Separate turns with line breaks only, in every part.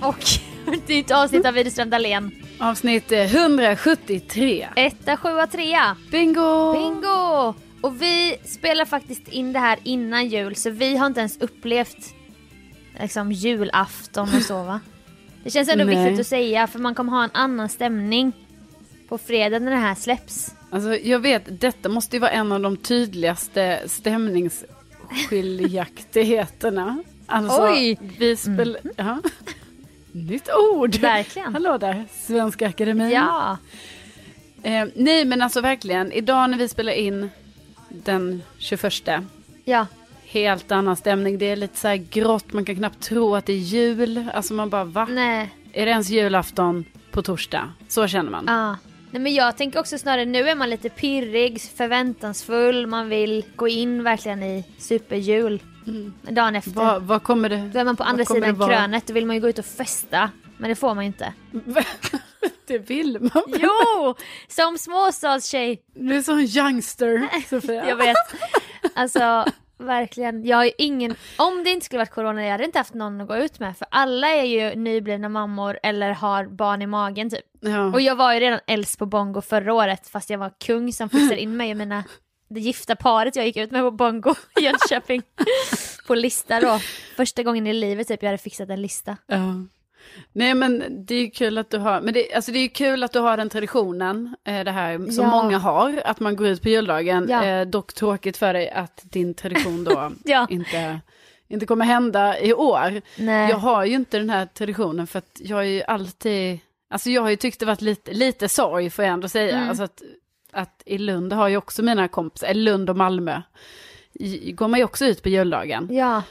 Och ett nytt avsnitt av Widerström Dahlén.
Avsnitt eh, 173.
Etta, sjua, trea.
Bingo!
Bingo! Och vi spelar faktiskt in det här innan jul så vi har inte ens upplevt liksom julafton och så va? Det känns ändå
Nej.
viktigt att säga för man kommer ha en annan stämning på fredag när det här släpps.
Alltså, jag vet, detta måste ju vara en av de tydligaste stämningsskiljaktigheterna. Alltså,
Oj! Mm.
Vi spel... Ja. Nytt ord!
Verkligen.
Hallå där, Svenska Akademin.
Ja,
Eh, nej, men alltså verkligen. Idag när vi spelar in den 21
ja,
Helt annan stämning. Det är lite så här grått. Man kan knappt tro att det är jul. Alltså man bara va?
nej,
Är det ens julafton på torsdag? Så känner man.
ja. Nej men jag tänker också snarare nu är man lite pirrig, förväntansfull, man vill gå in verkligen i superjul dagen efter.
Mm. Vad, vad kommer det?
Då är man på
vad
andra
kommer det
sidan
vara?
krönet, då vill man ju gå ut och festa. Men det får man ju inte.
det vill man väl?
Jo! Som småstadstjej.
Du är sån youngster, Sofia.
Jag vet. Alltså, verkligen. Jag har ju ingen... Om det inte skulle varit corona, jag hade inte haft någon att gå ut med. För alla är ju nyblivna mammor eller har barn i magen typ.
Ja.
Och jag var ju redan äldst på bongo förra året fast jag var kung som fixade in mig i mina... Det gifta paret jag gick ut med på bongo i Jönköping. på lista då. Första gången i livet typ jag hade fixat en lista.
Ja. Nej men det är ju kul att du har, men det, alltså det är ju kul att du har den traditionen, eh, det här som
Ja.
många har, att man går ut på juldagen.
Ja.
Eh, dock tråkigt för dig att din tradition då
Ja.
inte, inte kommer hända i år.
Nej.
Jag har ju inte den här traditionen för att jag är ju alltid, alltså jag har ju tyckt det varit lite, lite sorg får jag ändå säga.
Mm.
Alltså att, att i Lund har ju också mina kompisar, eller Lund och Malmö, i- går man ju också ut på juldagen.
Ja,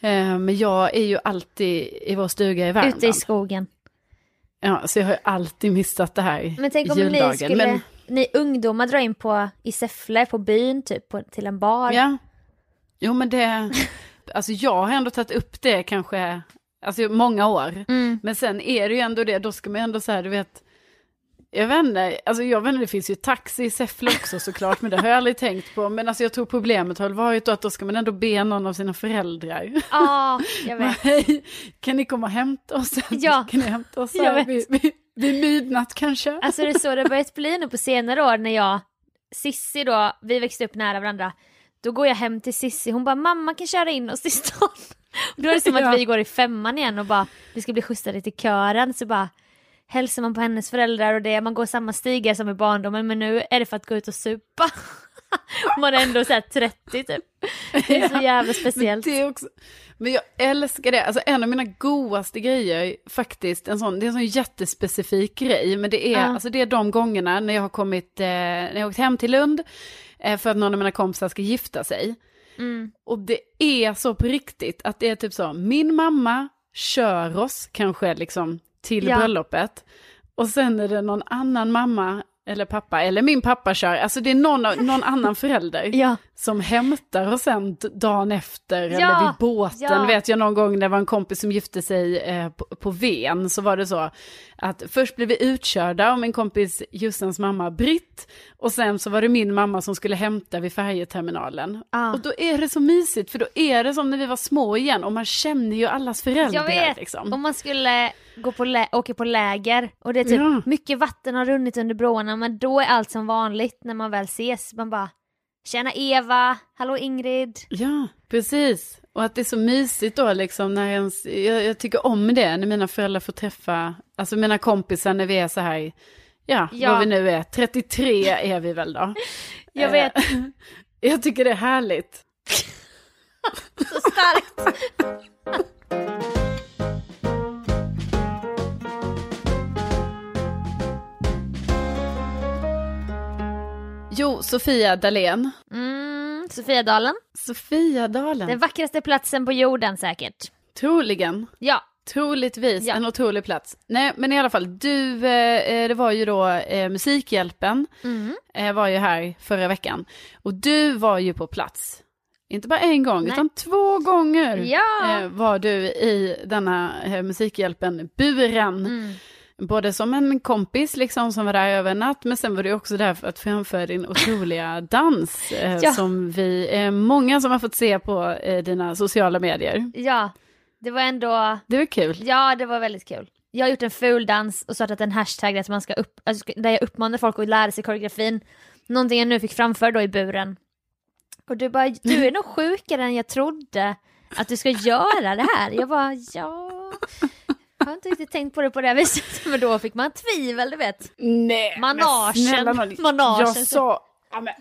Eh, Men jag är ju alltid i vår stuga i Värmland.
ute i skogen.
Ja, så jag har ju alltid missat det här
Men tänk om
juldagen.
ni skulle,
Men,
ni ungdomar drar in på, i Säffle, på byn typ, på, till en bar.
ja. Jo men det, alltså jag har ändå tagit upp det kanske, alltså många år.
Mm.
Men sen är det ju ändå det, då ska man ju ändå så här, du vet, jag vet inte, alltså jag vet inte, det finns ju taxi i Säffle också såklart, men det har jag aldrig tänkt på. Men alltså jag tror problemet har väl varit då att då ska man ändå be någon av sina föräldrar.
Ja, jag vet.
Hej, kan ni komma och hämta oss sen?
Ja.
Kan ni hämta oss
Jag
här
vet.
vid, vid, vid midnatt kanske?
Alltså det är så det har börjat bli nu på senare år när jag, Sissi då, vi växte upp nära varandra. Då går jag hem till Sissi, hon bara mamma kan köra in oss till stan. Och då är det som
Ja.
att vi går i femman igen och bara vi ska bli skjutsade till kören så bara hälsar man på hennes föräldrar och det, man går samma stigar som i barndomen men nu är det för att gå ut och supa. Och man är ändå såhär 30 typ. Det är så jävla
Men,
speciellt.
det är också, men jag älskar det. Alltså en av mina godaste grejer faktiskt, en sån, det är en sån jättespecifik grej, men det är,
Ja.
alltså, det är de gångerna när jag har kommit, eh, när jag har åkt hem till Lund eh, för att någon av mina kompisar ska gifta sig.
Mm.
Och det är så på riktigt att det är typ så, min mamma kör oss kanske liksom till
Ja.
bröllopet. Och sen är det någon annan mamma eller pappa, eller min pappa kör, alltså det är någon, av- någon annan förälder
Ja.
som hämtar och sen d- dagen efter eller
Ja,
vid båten.
ja.
Vet jag någon gång när det var en kompis som gifte sig eh, på, på Ven så var det så att först blev vi utkörda av min kompis Jussens mamma Britt och sen så var det min mamma som skulle hämta vid färjeterminalen.
Ah.
Och då är det så mysigt för då är det som när vi var små igen och man känner ju allas föräldrar.
Jag vet,
Liksom.
om man skulle gå på lä- åka på läger och det är typ
Ja.
mycket vatten har runnit under broarna men då är allt som vanligt när man väl ses. Man bara Tjena Eva, hallå Ingrid.
Ja, precis. Och att det är så mysigt då liksom när ens, jag, jag tycker om det när mina föräldrar får träffa, alltså mina kompisar när vi är så här, ja,
Ja.
vad vi nu är, 33 är vi väl då.
Jag vet,
Eh, jag tycker det är härligt.
så starkt.
Jo, Sofia Dalén.
Mm, Sofiadalen,
Sofia Dalen.
den vackraste platsen på jorden säkert.
Troligen.
Ja,
Troligtvis
Ja.
en otrolig plats. Nej, men i alla fall, du, eh, eh, det var ju då eh, Musikhjälpen,
Mm.
eh, var ju här förra veckan. Och du var ju på plats, inte bara en gång,
Nej.
utan två gånger
Ja.
eh, var du i denna eh, Musikhjälpen-buren.
Mm.
Både som en kompis liksom som var där över en natt, men sen var du också där för att framföra din otroliga dans. Eh,
Ja.
Som vi, eh, många som har fått se på eh, dina sociala medier.
ja. Det var ändå,
Det var kul.
ja det var väldigt kul. Jag har gjort en fuldans och startat en hashtag där, man ska upp, alltså, ska- där jag uppmanar folk att lära sig koreografin. Någonting jag nu fick framföra då i buren. Och du bara, du är nog sjukare än jag trodde att du ska göra det här. Jag bara, ja. Jag har inte riktigt tänkt på det på det här viset. Men då fick man tvivel, du vet.
Nej,
Managen.
men snälla nån.
Managen.
Jag sa, ja, men,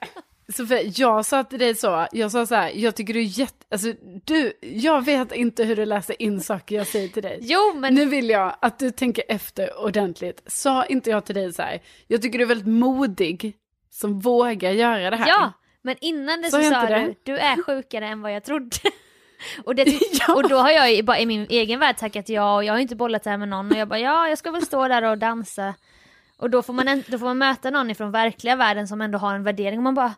Sofia, jag sa till dig så, jag sa så här, jag tycker du är jätte, alltså du, jag vet inte hur du läser in saker jag säger till dig.
Jo men
Nu vill jag att du tänker efter ordentligt. Sa inte jag till dig så här, jag tycker du är väldigt modig som vågar göra det här.
Ja, men innan det
Sa
så,
jag
sa
inte
du,
det?
du är sjukare än vad jag trodde. Och, det, tyck-
Ja.
och då har jag i- bara i min egen värld tackat ja och jag har inte bollat det här med någon och jag bara ja, jag ska väl stå där och dansa. Och då får man, en, då får man möta någon ifrån verkliga världen som ändå har en värdering och man bara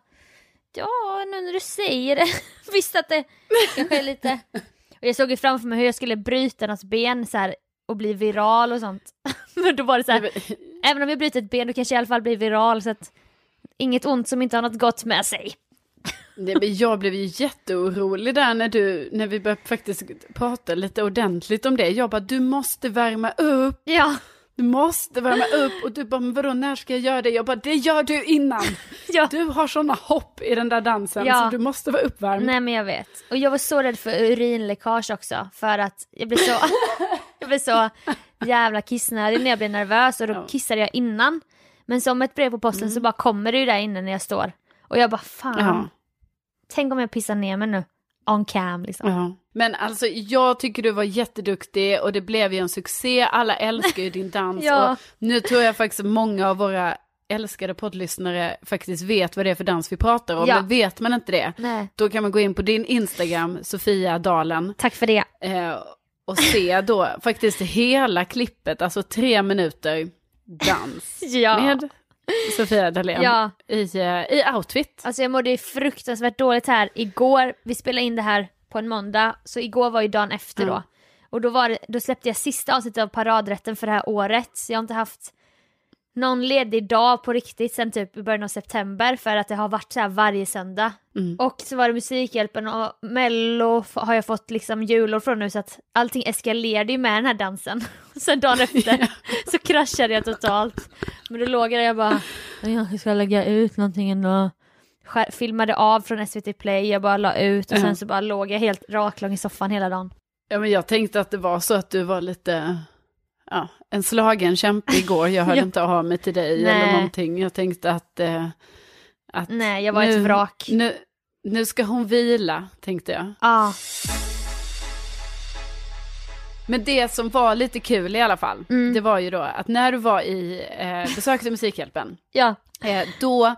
ja, nu när du säger det. Visst att det kanske är lite... Och jag såg ju framför mig hur jag skulle bryta någons ben så här, och bli viral och sånt. Men då var det så här, Även om jag bryter ett ben då kanske jag i alla fall blir viral så att inget ont som inte har något gott med sig.
Nej, men jag blev ju jätteorolig där när, du, när vi började faktiskt prata lite ordentligt om det. Jag bara, du måste värma upp.
Ja,
Du måste värma upp och du bara, men vadå när ska jag göra det? Jag bara, det gör du innan.
ja.
Du har sådana hopp i den där dansen
Ja.
så du måste vara uppvärmd.
Nej men jag vet. Och jag var så rädd för urinläckage också för att jag blev så, jag blev så jävla kissnödig när jag blev nervös och då
Ja. Mm.
kissade jag innan. Men som ett brev på posten så bara kommer det ju där inne när jag står. Och jag bara fan,
Ja,
tänk om jag pissar ner mig nu. On cam liksom.
ja. Men alltså jag tycker du var jätteduktig och det blev ju en succé. Alla älskar ju din dans
Ja.
och nu tror jag faktiskt många av våra älskade poddlyssnare faktiskt vet vad det är för dans vi pratar om.
Ja.
Men vet man inte det,
Nej,
då kan man gå in på din Instagram, Sofia Dalen,
tack för det.
eh, och se då faktiskt hela klippet, alltså tre minuter dans.
Ja.
med Sofia Dalén
Ja.
i, eh, i outfit.
Alltså jag mådde ju fruktansvärt dåligt här igår. Vi spelade in det här på en måndag, så igår var ju dagen efter då.
Ja.
Och då, var det, då släppte jag sista avsnittet av paradrätten för det här året. Så jag har inte haft någon ledig dag på riktigt sen typ i början av september för att det har varit så här varje söndag. Och så var det Musikhjälpen och Mello f- har jag fått liksom julor från nu så att allting eskalerade ju med den här dansen. Och sen dagen efter så kraschade jag totalt. Men då låg jag där och jag bara, "Men jag ska lägga ut någonting ändå. Skär- Filmade av från SVT Play, jag bara la ut och sen
Ja.
så bara låg jag helt raklång i soffan hela dagen.
Ja, men jag tänkte att det var så att du var lite, ja, en slagen kämpe igår. Jag hörde
Ja.
inte av mig till dig
Nej.
eller någonting. Jag tänkte att, eh, att
Nej, jag var ett
Nu-
vrak. Ja,
nu, nu ska hon vila, tänkte jag. Men det som var lite kul i alla fall,
Mm.
det var ju då att när du var i, eh, besökte Musikhjälpen,
ja,
eh, då,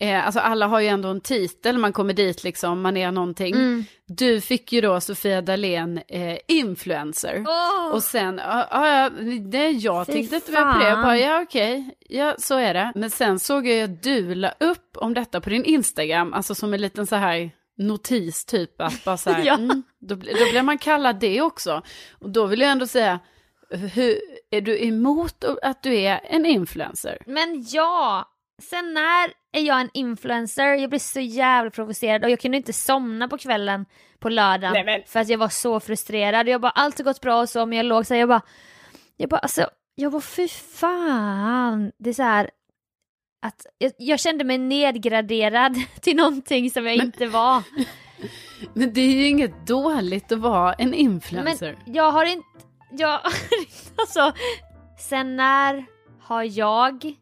eh, alltså alla har ju ändå en titel, man kommer dit liksom, man är någonting.
mm.
Du fick ju då Sofia Dalén eh, influencer.
Åh!
Och sen, ja, ja, ja, det jag
Fy
tänkte att det var på det, jag
fan.
bara, ja okej, ja så är det. Men sen såg jag att du la upp om detta på din Instagram, alltså som en liten så här notis typ, att bara så här,
Ja.
mm, då, bli- då blir man kallad det också. Och då vill jag ändå säga, hur, är du emot att du är en influencer?
Men ja! Sen när är jag en influencer? Jag blev så jävla provocerad och jag kunde inte somna på kvällen på lördagen
Nej, men-
för att jag var så frustrerad. Jag bara, allt har gått bra och så men jag låg så här, jag bara, jag bara alltså, jag bara fy fan. Det är så här att jag, jag kände mig nedgraderad till någonting som jag inte var.
Men det är ju inget dåligt att vara en influencer.
Men jag har inte, jag, alltså, sen när har jag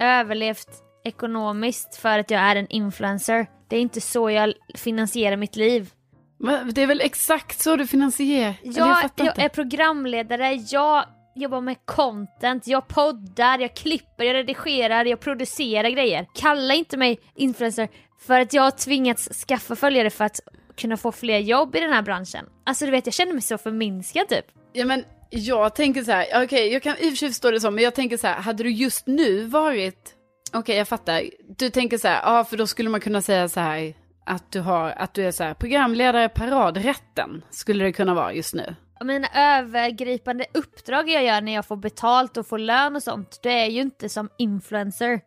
överlevt ekonomiskt för att jag är en influencer? Det är inte så jag finansierar mitt liv.
Men, det är väl exakt så du finansierar? Eller
Jag, jag,
fattar inte.
är programledare, jag jobbar med content, jag poddar, jag klipper, jag redigerar, jag producerar grejer. Kalla inte mig influencer för att jag har tvingats skaffa följare för att kunna få fler jobb i den här branschen. Alltså du vet, jag känner mig så förminskad typ.
Ja men jag tänker så här, okej jag kan i och för sig förstå det så, men jag tänker så här, hade du just nu varit, okej jag fattar, du tänker så här, ja för då skulle man kunna säga så här att du har, att du är så här programledare paradrätten, skulle det kunna vara just nu.
Och mina övergripande uppdrag jag gör när jag får betalt och får lön och sånt, det är ju inte som influencer.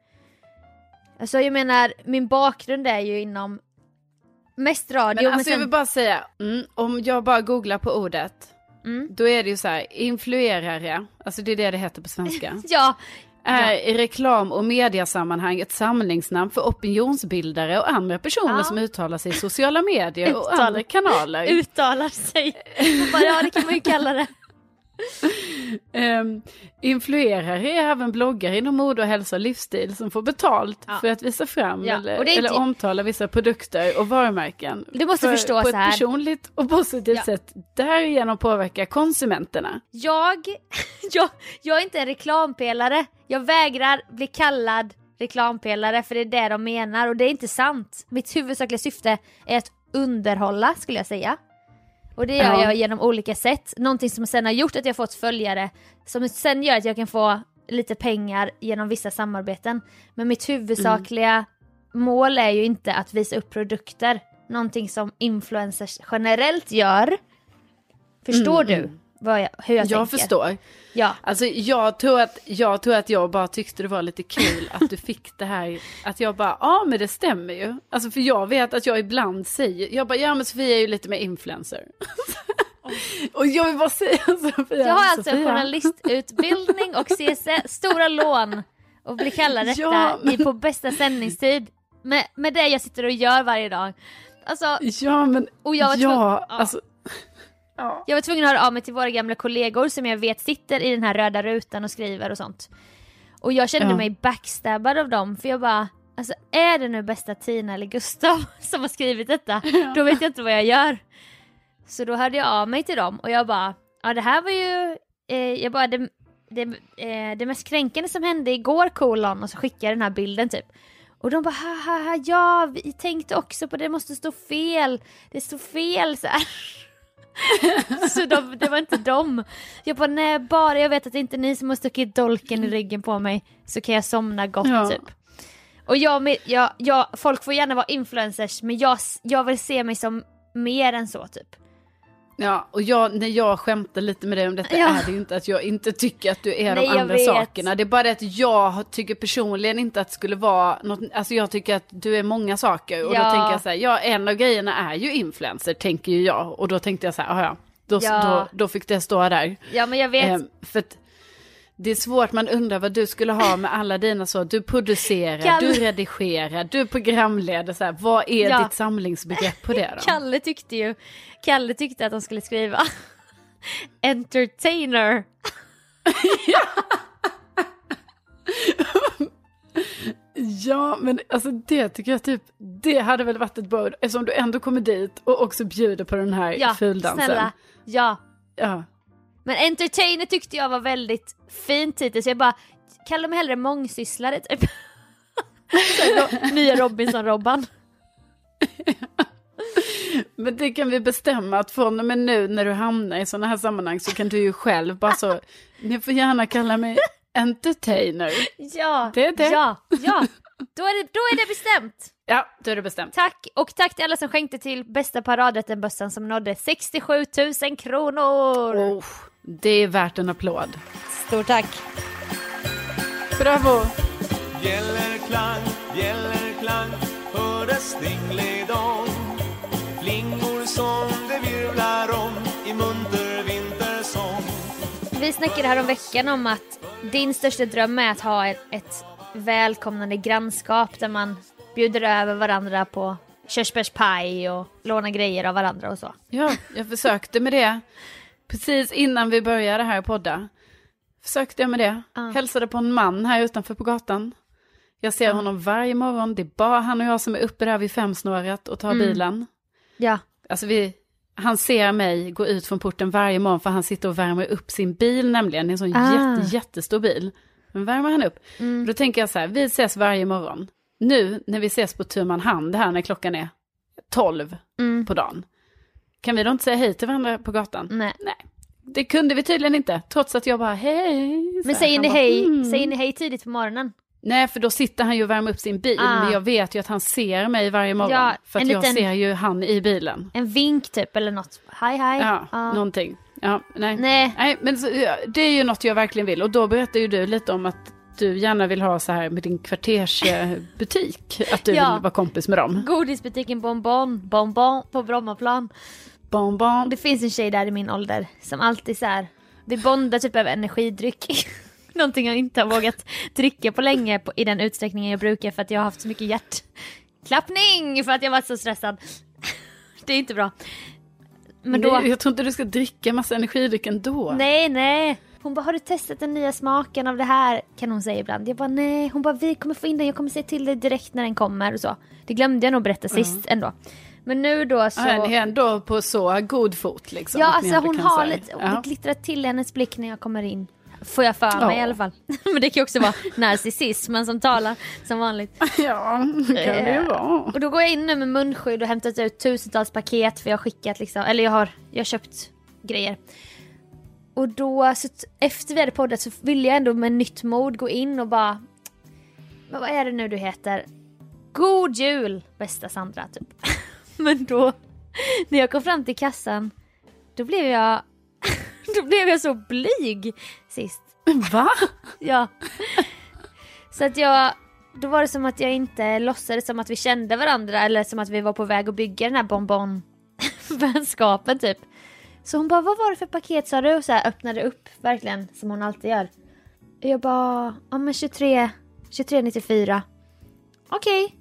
Alltså jag menar, min bakgrund är ju inom mest radio
Men
men,
alltså jag
sen...
vill bara säga, mm, om jag bara googlar på ordet
Mm.
då är det ju så här, influerare, alltså det är det det heter på svenska,
Ja,
är i reklam och mediasammanhang ett samlingsnamn för opinionsbildare och andra personer
Ja.
som uttalar sig i sociala medier och
Uttalar-
andra kanaler.
uttalar sig. Man Bara, ja, det kan man ju kalla det.
Ehm, influerare är även bloggare inom mode och hälsa och livsstil som får betalt
Ja.
för att visa fram
Ja,
eller,
och det är typ-
eller
ty-
omtala vissa produkter och varumärken.
Du måste
för,
förstå
På
så här.
ett personligt och positivt
Ja.
sätt, därigenom påverka konsumenterna.
Jag, jag, jag är inte en reklampelare. Jag vägrar bli kallad reklampelare för det är det de menar och det är inte sant. Mitt huvudsakliga syfte är att underhålla skulle jag säga. Och det gör
Ja.
jag genom olika sätt. Någonting som sen har gjort att jag fått följare som sen gör att jag kan få lite pengar genom vissa samarbeten. Men mitt huvudsakliga mål är ju inte att visa upp produkter. Någonting som influencers generellt gör. Förstår du vad jag, hur jag,
Jag,
tänker?
förstår.
Ja.
Alltså jag tror, att, jag tror att jag bara tyckte det var lite kul att du fick det här, att jag bara, ja men det stämmer ju. Alltså för jag vet att jag ibland säger, jag bara, ja men Sofia är ju lite mer influencer. och jag vill bara säga Sofia.
Jag har alltså en
Sofia.
journalistutbildning och CSN, stora lån och blir kallad detta
Ja, men-
i, på bästa sändningstid. Med, med det jag sitter och gör varje dag. Alltså,
Ja men,
och jag var, tvungen,
ja,
ja.
alltså. Ja.
jag var tvungen att höra av mig till våra gamla kollegor som jag vet sitter i den här röda rutan och skriver och sånt. Och jag kände
Ja.
mig backstabbad av dem för jag bara, alltså är det nu bästa Tina eller Gustav som har skrivit detta, då vet jag inte vad jag gör. Så då hörde jag av mig till dem och jag bara, ja det här var ju, eh, jag bara, det, det, eh, det mest kränkande som hände igår kolon och så skickade jag den här bilden typ. Och de bara ha ha ja vi tänkte också på det, det måste stå fel, det stod fel så här. så de, det var inte dem. Jag bara nej bara jag vet att det är inte ni som har stuckit dolken i ryggen på mig så kan jag somna gott
Ja.
typ. Och jag, men jag, jag, folk får gärna vara influencers men jag, s- jag vill se mig som mer än så typ.
Ja, och jag, när jag skämtar lite med dig om detta
Ja.
är det ju inte att jag inte tycker att du är
Nej, jag
de andra
vet.
sakerna. Det är bara det att jag tycker personligen inte att det skulle vara något, alltså jag tycker att du är många saker. Och då
Ja.
tänker jag så här, ja en av grejerna är ju influencer, tänker ju jag. Och då tänkte jag så här, "Ah, ja, då,
Ja.
då, då fick det stå där.
Ja men jag vet.
Ehm, för att det är svårt, man undrar vad du skulle ha med alla dina så. Du producerar,
Kalle-
du redigerar, du programleder. Så här, vad är
Ja.
ditt samlingsbegrepp på det då?
Kalle tyckte ju, Kalle tyckte att de skulle skriva entertainer.
Ja, men alltså det tycker jag typ, det hade väl varit ett bra ord, eftersom du ändå kommer dit och också bjuder på den här
Ja,
fuldansen.
snälla. Ja.
Ja.
Men entertainer tyckte jag var väldigt fin titel så jag bara, kalla mig hellre mångsysslare typ. Så ro- Nya Robinson-Robban.
Men det kan vi bestämma att från och med nu när du hamnar i sådana här sammanhang så kan du ju själv bara så, ni får gärna kalla mig entertainer.
Ja,
Det är det.
ja, ja. Då är det, då är det bestämt.
Ja, då är det bestämt.
Tack och tack till alla som skänkte till bästa paradrätten-bössan som nådde 67 000 kronor.
Oh, det är värt en applåd.
Stort tack.
Bravo!
Bjällerklang, bjällerklang hördes dingledong Flingor som det virvlar om i munter vintersång
Vi snackade här om veckan om att din största dröm är att ha ett, ett välkomnande grannskap där man bjuder över varandra på körsbärspaj och lånar grejer av varandra och så.
Ja, jag försökte med det precis innan vi började här podda. Försökte jag med det.
Ja.
Hälsade på en man här utanför på gatan. Jag ser honom varje morgon. Det är bara han och jag som är uppe där vid femsnåret och tar
Mm.
bilen.
Ja.
Alltså vi, han ser mig gå ut från porten varje morgon för han sitter och värmer upp sin bil nämligen. Det är en sån
Ah. Mm.
jätte, jättestor bil. Den värmer han upp. Då tänker jag så här, vi ses varje morgon. Nu när vi ses på tu man hand här när klockan är 12
Mm.
på dagen. Kan vi då inte säga hej till varandra på gatan?
Nej.
Det kunde vi tydligen inte, trots att jag bara hej. Så
Men
här,
säger
han
ni,
bara,
hej,
"Mm."
säger ni hej tidigt på morgonen?
Nej, för då sitter han ju och värmer upp sin bil.
Ah.
Men jag vet ju att han ser mig varje morgon.
Ja,
för att
en
jag
liten-
ser ju han i bilen.
En vink typ eller något? Hej hej.
Ja,
Ja.
någonting. Ja, nej.
Nej.
men så, ja, det är ju något jag verkligen vill. Och då berättar ju du lite om att du gärna vill ha så här med din kvartersbutik. att du
Ja.
vill vara kompis med dem.
Godisbutiken Bonbon, Bonbon på Brommaplan.
Bon, bon.
Det finns en tjej där i min ålder som alltid så här, vi bondar typ över energidryck. Någonting jag inte har vågat dricka på länge på, i den utsträckningen jag brukar för att jag har haft så mycket hjärtklappning för att jag varit så stressad. det är inte bra. Men då,
Nej, Jag tror inte du ska dricka massa energidryck ändå.
nej, nej. Hon bara, har du testat den nya smaken av det här? Kan hon säga ibland. Jag bara, nej. Hon bara, vi kommer få in den, jag kommer säga till dig direkt när den kommer och så. Det glömde jag nog berätta sist ändå. Men nu då så...
Ja, Ni är ändå på så god fot liksom.
Ja,
att ni
alltså
ändå
hon
kan
har
säga.
lite,
Ja.
det glittrar till hennes blick när jag kommer in. Får jag för mig
Ja.
i alla fall. Men det kan ju också vara narcissismen som talar som vanligt.
Ja, det kan det ju
Eh,
vara.
Och då går jag in nu med munskydd och hämtat ut tusentals paket för jag har skickat liksom, eller jag har, jag har köpt grejer. Och då, så t- efter vi hade poddat så ville jag ändå med nytt mod gå in och bara, men vad är det nu du heter? God jul bästa Sandra typ. Men då, när jag kom fram till kassan, då blev jag, då blev jag så blyg sist.
Va?
Ja. Så att jag, då var det som att jag inte låtsades som att vi kände varandra eller som att vi var på väg att bygga den här bonbon-vänskapen typ. Så hon bara, vad var det för paket sa du? Och så här öppnade upp verkligen som hon alltid gör. Jag bara, ja men 23, 2394. Okej.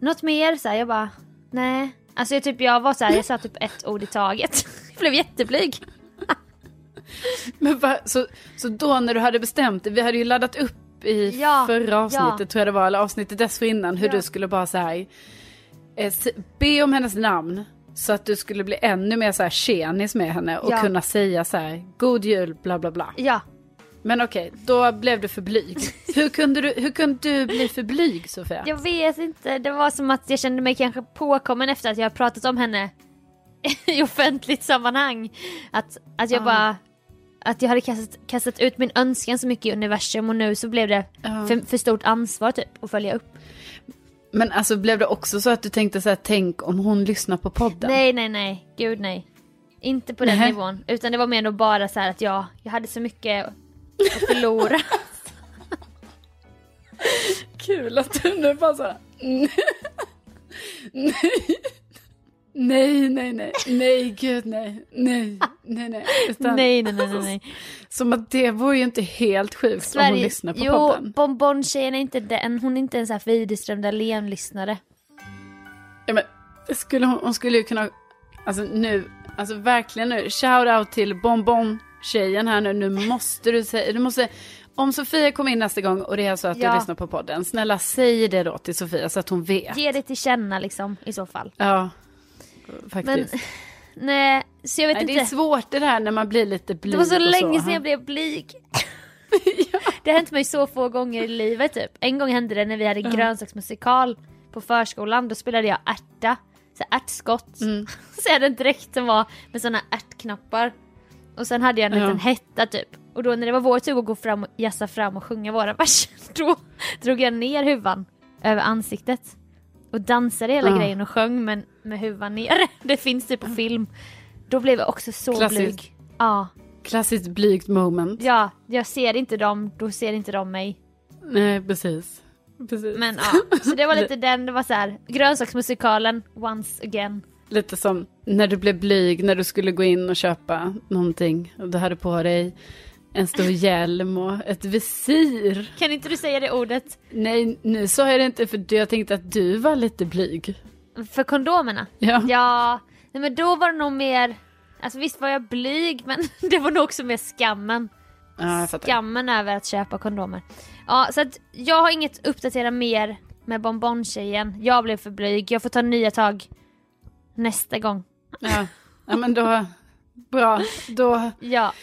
Något mer? Så här, jag bara, nej. Alltså jag, typ, jag var så här, jag sa typ ett ord i taget. Jag blev jätteblyg.
Men va? Så, så då när du hade bestämt dig, vi hade ju laddat upp i
Ja,
förra
ja.
avsnittet tror jag det var, eller avsnittet dessförinnan, hur
Ja.
du skulle bara så här, eh, s- be om hennes namn så att du skulle bli ännu mer så här tjenis med henne och
Ja.
kunna säga så här, god jul, bla bla bla.
Ja,
Men okej, då blev du för blyg. Hur kunde du, hur kunde du bli för blyg Sofia?
Jag vet inte, det var som att jag kände mig kanske påkommen efter att jag har pratat om henne i offentligt sammanhang. Att, att jag
Ah.
bara, att jag hade kastat, kastat ut min önskan så mycket i universum och nu så blev det
Ja.
för, för stort ansvar typ att följa upp.
Men alltså blev det också så att du tänkte så här, tänk om hon lyssnar på podden?
Nej, nej, nej, gud nej. Inte på den
Nej.
nivån, utan det var mer då bara så här att jag, jag hade så mycket att förlora.
Kul att du nu bara såhär... Nej, nej, nej, nej, gud nej, nej, nej, nej. Utan,
nej, nej, nej, nej, nej.
Som att det vore ju inte helt sjukt om hon lyssnar på
jo,
podden.
Bonbon-tjejen är inte den, hon är inte en sån här Widerström Dahlén-lyssnare.
Ja, men, skulle hon, hon skulle ju kunna, alltså nu, alltså verkligen nu, shout out till Bonbon-tjejen här nu, nu måste du säga, du måste, om Sofia kommer in nästa gång och det är så att
Ja.
du lyssnar på podden, snälla säg det då till Sofia så att hon vet.
Ge det till känna liksom i så fall.
Ja, faktiskt.
Men nej, så jag vet
Nej,
inte.
det är svårt det där när man blir lite blyg.
det var så
och
länge
så.
sedan jag blev blyg. Det har hänt mig så få gånger i livet typ. En gång hände det när vi hade grönsaksmusikal på förskolan. Då spelade jag ärta, så här ärtskott.
Mm.
Så jag hade en dräkt som var med såna ärtknappar. Och sen hade jag en
Ja.
liten hetta typ. Och då när det var vår tur att gå fram och jassa fram och sjunga våra verser, då drog jag ner huvan över ansiktet. Och dansade hela
Ja.
grejen och sjöng men med huvan ner. Det finns typ på film. Då blev jag också så
Klassiskt.
blyg. Ja.
Klassiskt blygt moment.
Ja, jag ser inte dem, då ser inte de mig.
Nej, precis. precis.
Men ja, så det var lite den, det var så här, grönsaksmusikalen once again.
Lite som när du blev blyg när du skulle gå in och köpa någonting. Och du hade på dig en stor hjälm och ett visir.
Kan inte du säga det ordet?
Nej, nu sa jag det inte för jag tänkte att du var lite blyg.
För kondomerna?
Ja.
Ja, nej men då var det nog mer, alltså visst var jag blyg men det var nog också mer skammen.
Ja, jag fattar.
Skammen över att köpa kondomer. Ja, så att jag har inget att uppdatera mer med bonbon-tjejen. Jag blev för blyg, jag får ta nya tag nästa gång.
Ja. ja, men då... Bra, då,
Ja,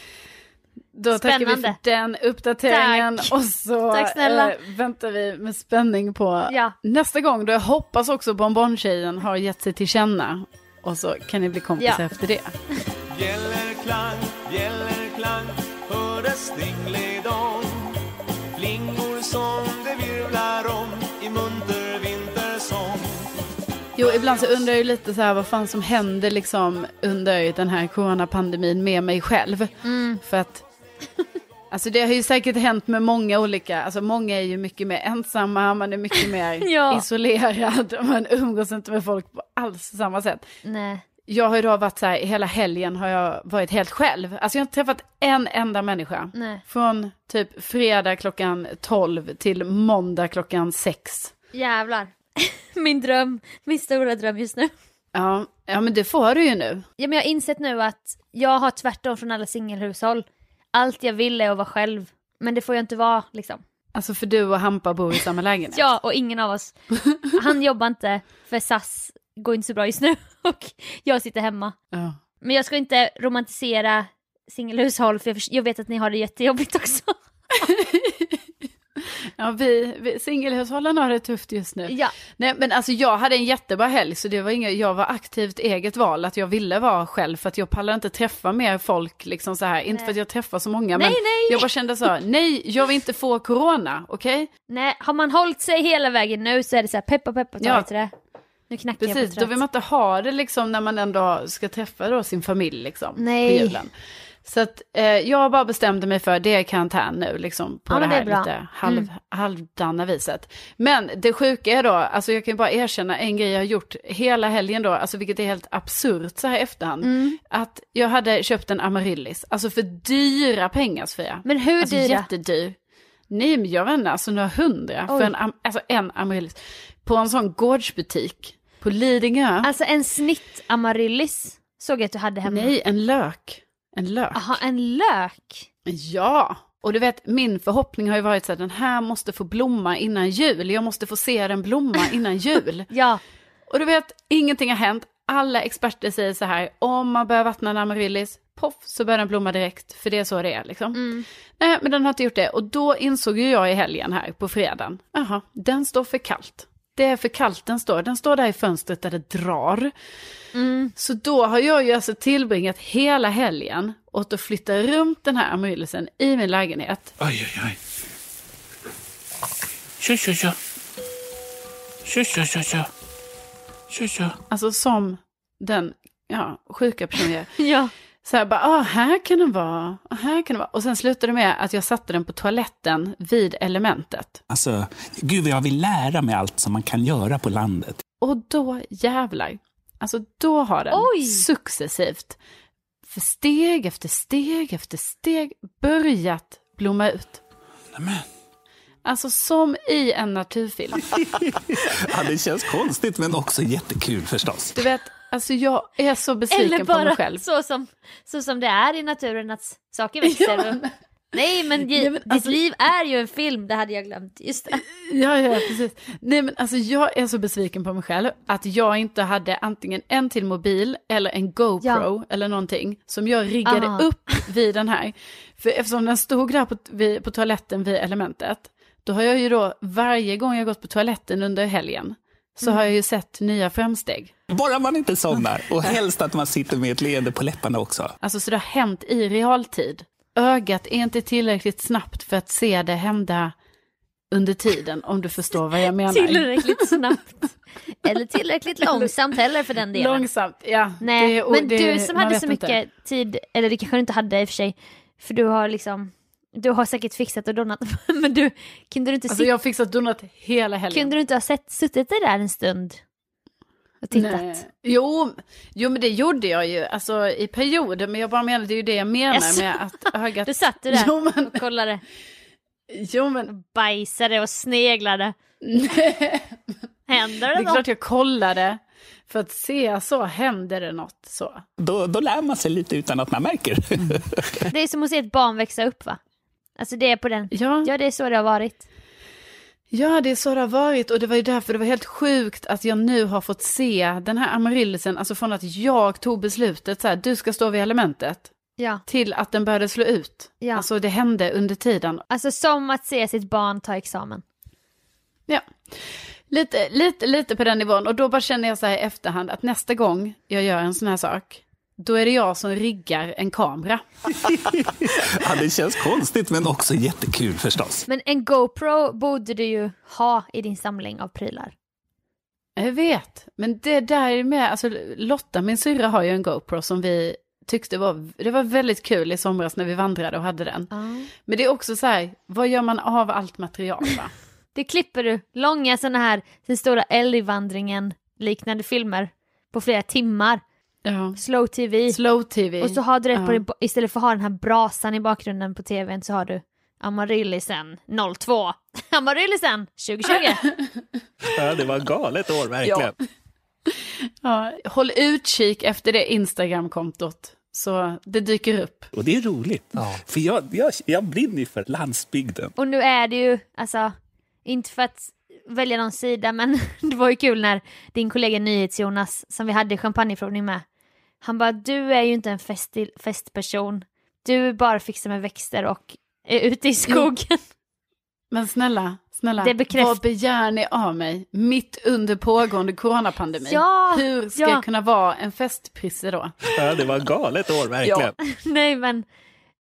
då tackar vi för
Spännande.
den uppdateringen
Tack.
och så
Tack snälla.
eh, väntar vi med spänning på
ja.
Nästa gång då jag hoppas också Bonbon-tjejen har gett sig till känna. Och så kan ni bli kompisar
Ja.
efter det.
Bjällerklang, bjällerklang hördes dingelidong Flingor som det virvlar om i munter vintersång
Jo, ibland så undrar jag ju lite så här vad fan som händer liksom under ju den här coronapandemin med mig själv. För att, alltså det har ju säkert hänt med många olika, alltså många är ju mycket mer ensamma, man är mycket mer
Ja.
isolerad, man umgås inte med folk på alls samma sätt.
Nej.
jag har ju då varit så här, hela helgen har jag varit helt själv. Alltså jag har inte träffat en enda människa.
Nej.
Från typ fredag klockan 12 till måndag klockan 6.
Jävlar. Min dröm, min stora dröm just nu.
Ja, ja men det får du ju nu.
Ja, men jag har insett nu att jag har tvärtom från alla singelhushåll. Allt jag vill är att vara själv. Men det får jag inte vara liksom.
Alltså för du och Hampa bor i samma lägenhet.
Ja, och ingen av oss. Han jobbar inte för SAS går inte så bra just nu och jag sitter hemma.
ja.
Men jag ska inte romantisera singelhushåll för jag, förs- jag vet att ni har det jättejobbigt också.
Ja, vi, vi singelhushållen har det tufft just nu.
Ja,
Nej, men alltså jag hade en jättebra helg, så det var inga, jag var aktivt eget val att jag ville vara själv, för att jag pallar inte träffa mer folk liksom så här, inte
Nej.
för att jag träffar så många,
Nej,
men
nej.
jag bara kände så här, nej, jag vill inte få corona, okej?
nej, har man hållit sig hela vägen nu så är det så här peppa peppa ta
Ja.
ja. det. Nu knackar jag
Precis,
på
då vill
trött.
man inte ha det liksom när man ändå ska träffa då sin familj liksom
Nej.
på julen. Så att eh, jag bara bestämde mig för det är karantän nu liksom på
Ja,
det
men det är
här
bra. Mm.
lite halv, halvdana viset. Men det sjuka är då, alltså jag kan ju bara erkänna en grej jag har gjort hela helgen då, alltså vilket är helt absurt så här i efterhand,
Mm.
att jag hade köpt en amaryllis, alltså för dyra pengar Sofia.
Men hur
alltså,
dyra?
Jättedyr. Nej men jag vet inte, alltså några hundra
Oj.
för en, am- alltså en amaryllis. På en sån gårdsbutik på Lidingö.
Alltså en snitt amaryllis såg jag Ah. att du hade hemma.
Nej, en lök. En lök.
Aha, en lök.
Ja, och du vet min förhoppning har ju varit så här, den här måste få blomma innan jul. Jag måste få se den blomma innan jul.
Ja,
Och du vet, ingenting har hänt. Alla experter säger så här, om man börjar vattna en amaryllis, poff, så börjar den blomma direkt, för det är så det är liksom. Nej, men den har inte gjort det. Och då insåg ju jag i helgen här på fredagen, jaha, den står för kallt. Det är för kallt den står, den står där i fönstret där det drar. Så då har jag ju alltså tillbringat hela helgen åt att flytta runt den här amaryllisen i min lägenhet.
Aj, aj, aj. Tjo, tjo, tjo. Tjo, tjo, tjo, tjo. Tjo, tjo.
Alltså som den ja, sjuka personen jag är.
ja.
Så här bara, ah, här kan den vara, ah, här kan den vara. Och sen slutade det med att jag satte den på toaletten vid elementet.
Alltså, gud vad jag vill lära mig allt som man kan göra på landet.
Och då jävlar, alltså då har den
Oj!
successivt, för steg efter steg efter steg, börjat blomma ut.
Nämen.
Alltså som i en naturfilm.
Ja, det känns konstigt men också jättekul förstås.
Du vet, alltså jag är så
Eller
besviken på mig
bara
själv.
så som, så som det är i naturen att saker växer. och... Nej men,
Nej, men
ditt
alltså-
liv är ju en film, det hade jag glömt. Just det.
Ja, ja, precis. Nej, men alltså jag är så besviken på mig själv att jag inte hade antingen en till mobil eller en GoPro
Ja.
eller någonting som jag riggade
Aha.
upp vid den här. För eftersom den stod där på, vid, på toaletten vid elementet, då har jag ju då varje gång jag gått på toaletten under helgen så har
Mm.
jag ju sett nya framsteg.
Bara man inte somnar och helst att man sitter med ett leende på läpparna också.
Alltså så det har hänt i realtid. Ögat är inte tillräckligt snabbt för att se det hända under tiden, om du förstår vad jag menar.
Tillräckligt snabbt. Eller tillräckligt långsamt heller för den delen.
Långsamt, ja.
Nej,
Det- och
men
det-
du som
man
hade
vet
så
inte.
mycket tid, eller det kanske du inte hade i och för sig, för du har liksom, du har säkert fixat och donat, men du, kunde du inte,
Alltså
sit,
jag har fixat donut hela helgen.
kunde du inte ha sett, suttit där en stund och tittat?
Nej. Jo, jo, men det gjorde jag ju, alltså i perioder, men jag bara menar, det är ju det jag menar
Jaså?
med att ögat...
Du satt du där
Jo, men,
och kollade,
jo, men
bajsade och sneglade. Händer
det
det,
är
något?
klart jag kollade, för att se så, händer det något så?
Då, då lär man sig lite utan att man märker.
Det är som att se ett barn växa upp va? Alltså det är på den,
Ja,
ja det är så det har varit.
ja, det är så det har varit, och det var ju därför det var helt sjukt att jag nu har fått se den här amaryllisen, alltså från att jag tog beslutet så här, du ska stå vid elementet,
Ja.
till att den började slå ut.
Ja.
Alltså det hände under tiden.
Alltså som att se sitt barn ta examen.
Ja. Lite, lite, lite på den nivån. Och då bara känner jag så här i efterhand att nästa gång jag gör en sån här sak, då är det jag som riggar en kamera.
Ja, det känns konstigt men också jättekul förstås.
Men en GoPro borde du ju ha i din samling av prylar.
Jag vet, men det där är med, alltså Lotta, min syrra har ju en GoPro som vi tyckte var, det var väldigt kul i somras när vi vandrade och hade den. Men det är också så här, vad gör man av allt material va?
Det klipper du, långa sådana här, den stora älgvandringen liknande filmer på flera timmar.
Ja.
Slow TV.
Slow TV.
Och så har du det på
Eh, Ja.
din, istället för att ha den här brasan i bakgrunden på tvn så har du Amarillisen 02. Amarillisen 2020.
Ja, det var galet år verkligen.
Ja, håll utkik efter det Instagram-kontot. Så det dyker upp.
Och det är roligt. För jag, jag, jag brinner ju för landsbygden.
Och nu är det ju, alltså, inte för att välja någon sida men det var ju kul när din kollega NyhetsJonas som vi hade champagneprovning med, han bara du är ju inte en festi- festperson, du bara fixar med växter och är ute i skogen.
Men snälla, snälla.
Det bekräft-
Vad begär ni av mig mitt under pågående coronapandemi?
Ja,
Hur ska
ja.
jag kunna vara en festprisse då?
Ja, det var galet år verkligen.
Nej men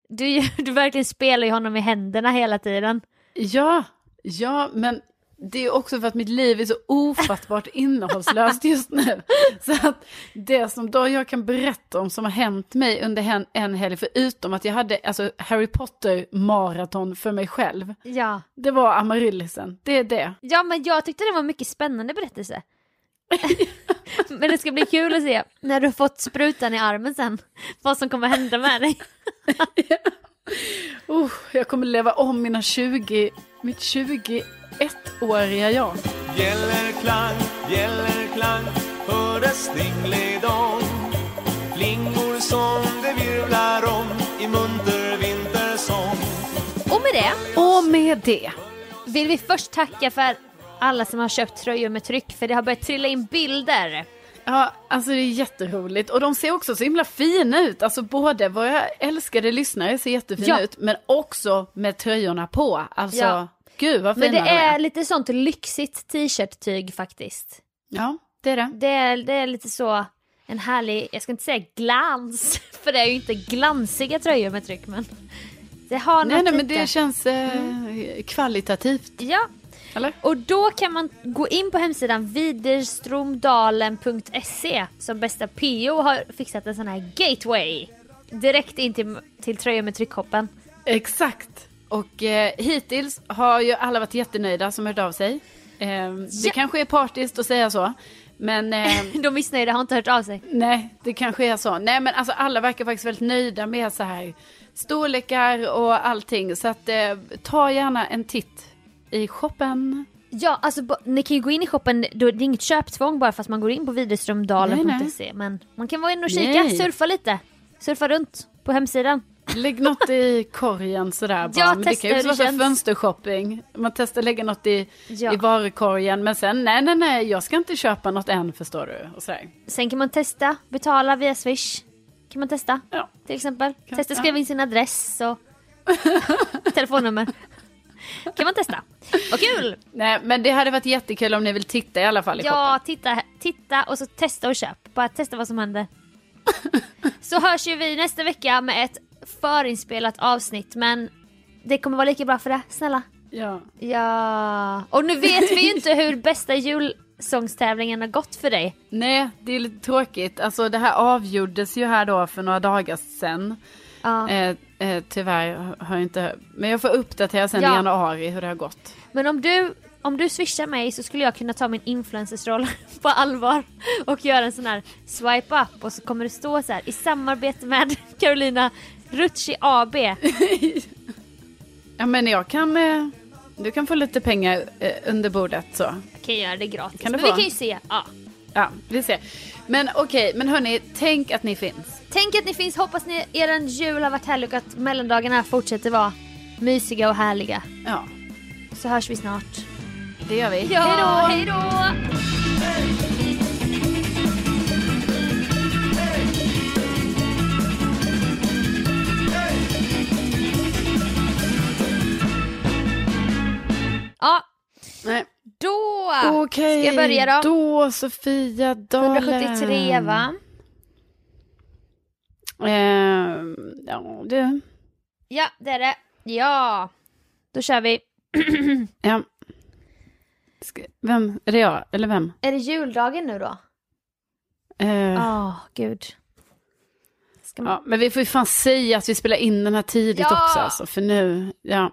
du, du verkligen spelar ju honom i händerna hela tiden.
Ja, ja, men det är också för att mitt liv är så ofattbart innehållslöst just nu. Så att det som då jag kan berätta om som har hänt mig under en, en helg, förutom att jag hade alltså, Harry Potter-maraton för mig själv,
Ja.
det var amaryllisen. Det är det.
ja men jag tyckte det var en mycket spännande berättelse. men det ska bli kul att se när du har fått sprutan i armen sen, vad som kommer hända med dig.
Oh, jag kommer leva om mina 20, mitt 21-åriga jag.
Bjällerklang, bjällerklang hördes dong Flingor som det virvlar om i munter vintersång
Och med det
Och med det.
vill vi först tacka för alla som har köpt tröjor med tryck för det har börjat trilla in bilder.
Ja, alltså det är jätteroligt. Och de ser också så himla fina ut. Alltså både våra älskade lyssnare ser jättefina
Ja.
ut, men också med tröjorna på. Alltså,
Ja.
gud vad fina
Men det
de är.
är lite sånt lyxigt t-shirt-tyg faktiskt.
Ja, det är det.
Det är, det är lite så en härlig, jag ska inte säga glans, för det är ju inte glansiga tröjor med tryck men det har
Nej,
något
nej, men
lite.
det känns eh,
Mm.
kvalitativt,
Ja,
eller?
och då kan man gå in på hemsidan widerstromdalen.se som bästa PO har fixat en sån här gateway direkt in till, till tröjor med tryckkoppen.
Exakt. Och eh, hittills har ju alla varit jättenöjda som hört av sig. Eh, Det
Ja.
kanske är partiskt att säga så, men... Eh,
De missnöjda har inte hört av sig.
Nej, det kanske är så. Nej, men alltså alla verkar faktiskt väldigt nöjda med så här storlekar och allting. Så att eh, ta gärna en titt i shoppen.
Ja, alltså bo- ni kan ju gå in i shoppen, då är det är inget köptvång bara fast man går in på
Nej,
widerströmdalen.se men man kan vara inne och kika,
Nej.
surfa lite, surfa runt på hemsidan.
Lägg något i korgen sådär bara.
Ja,
men det
testa
kan ju
hur det
också vara så här
känns.
fönstershopping. Man testar lägga något i,
Ja.
i varukorgen men sen nej, nej, nej, jag ska inte köpa något än förstår du. Och så här.
Sen kan man testa, betala via swish. Kan man testa
Ja.
till exempel.
Kan-
testa skriva in sin adress och telefonnummer. kan man testa. Vad kul!
Nej, men det hade varit jättekul om ni vill titta i alla fall i shoppen.
Ja, titta, titta och så testa och köp. Bara testa vad som händer. så hörs ju vi nästa vecka med ett förinspelat avsnitt men det kommer vara lika bra för det, snälla.
Ja.
Ja, och nu vet vi ju inte hur bästa julsångstävlingen har gått för dig.
Nej, det är lite tråkigt. Alltså det här avgjordes ju här då för några dagar sedan.
Ja.
Eh, eh, tyvärr har jag inte... Men jag får uppdatera sen
Ja.
i januari hur det har gått.
Men om du, om du swishar mig så skulle jag kunna ta min influencersroll på allvar och göra en sån här swipe up och så kommer det stå så här i samarbete med Carolina Rucci AB.
Ja, men jag kan... Eh, du kan få lite pengar eh, under bordet så.
Jag kan göra det gratis.
Kan du
Men
få?
vi kan ju se. Ja.
Ja, vi ser. Men okej, men hörni, tänk att ni finns.
Tänk att ni finns, hoppas ni eran jul har varit härlig och att mellandagarna fortsätter vara mysiga och härliga.
Ja,
Så hörs vi snart.
det gör vi.
Ja, hej då! Ja,
Nej.
då
Okej,
ska jag börja då.
då Sofia Dalen.
173 va?
Eh, ja, du.
Ja, det är det. Ja, då kör vi.
Ja. Ska, vem? Är det jag? Eller vem?
Är det juldagen nu då?
Eh,
Åh, gud. Ska man...
Ja, men vi får ju fan säga att vi spelar in den här tidigt
Ja!
också alltså, för nu, ja.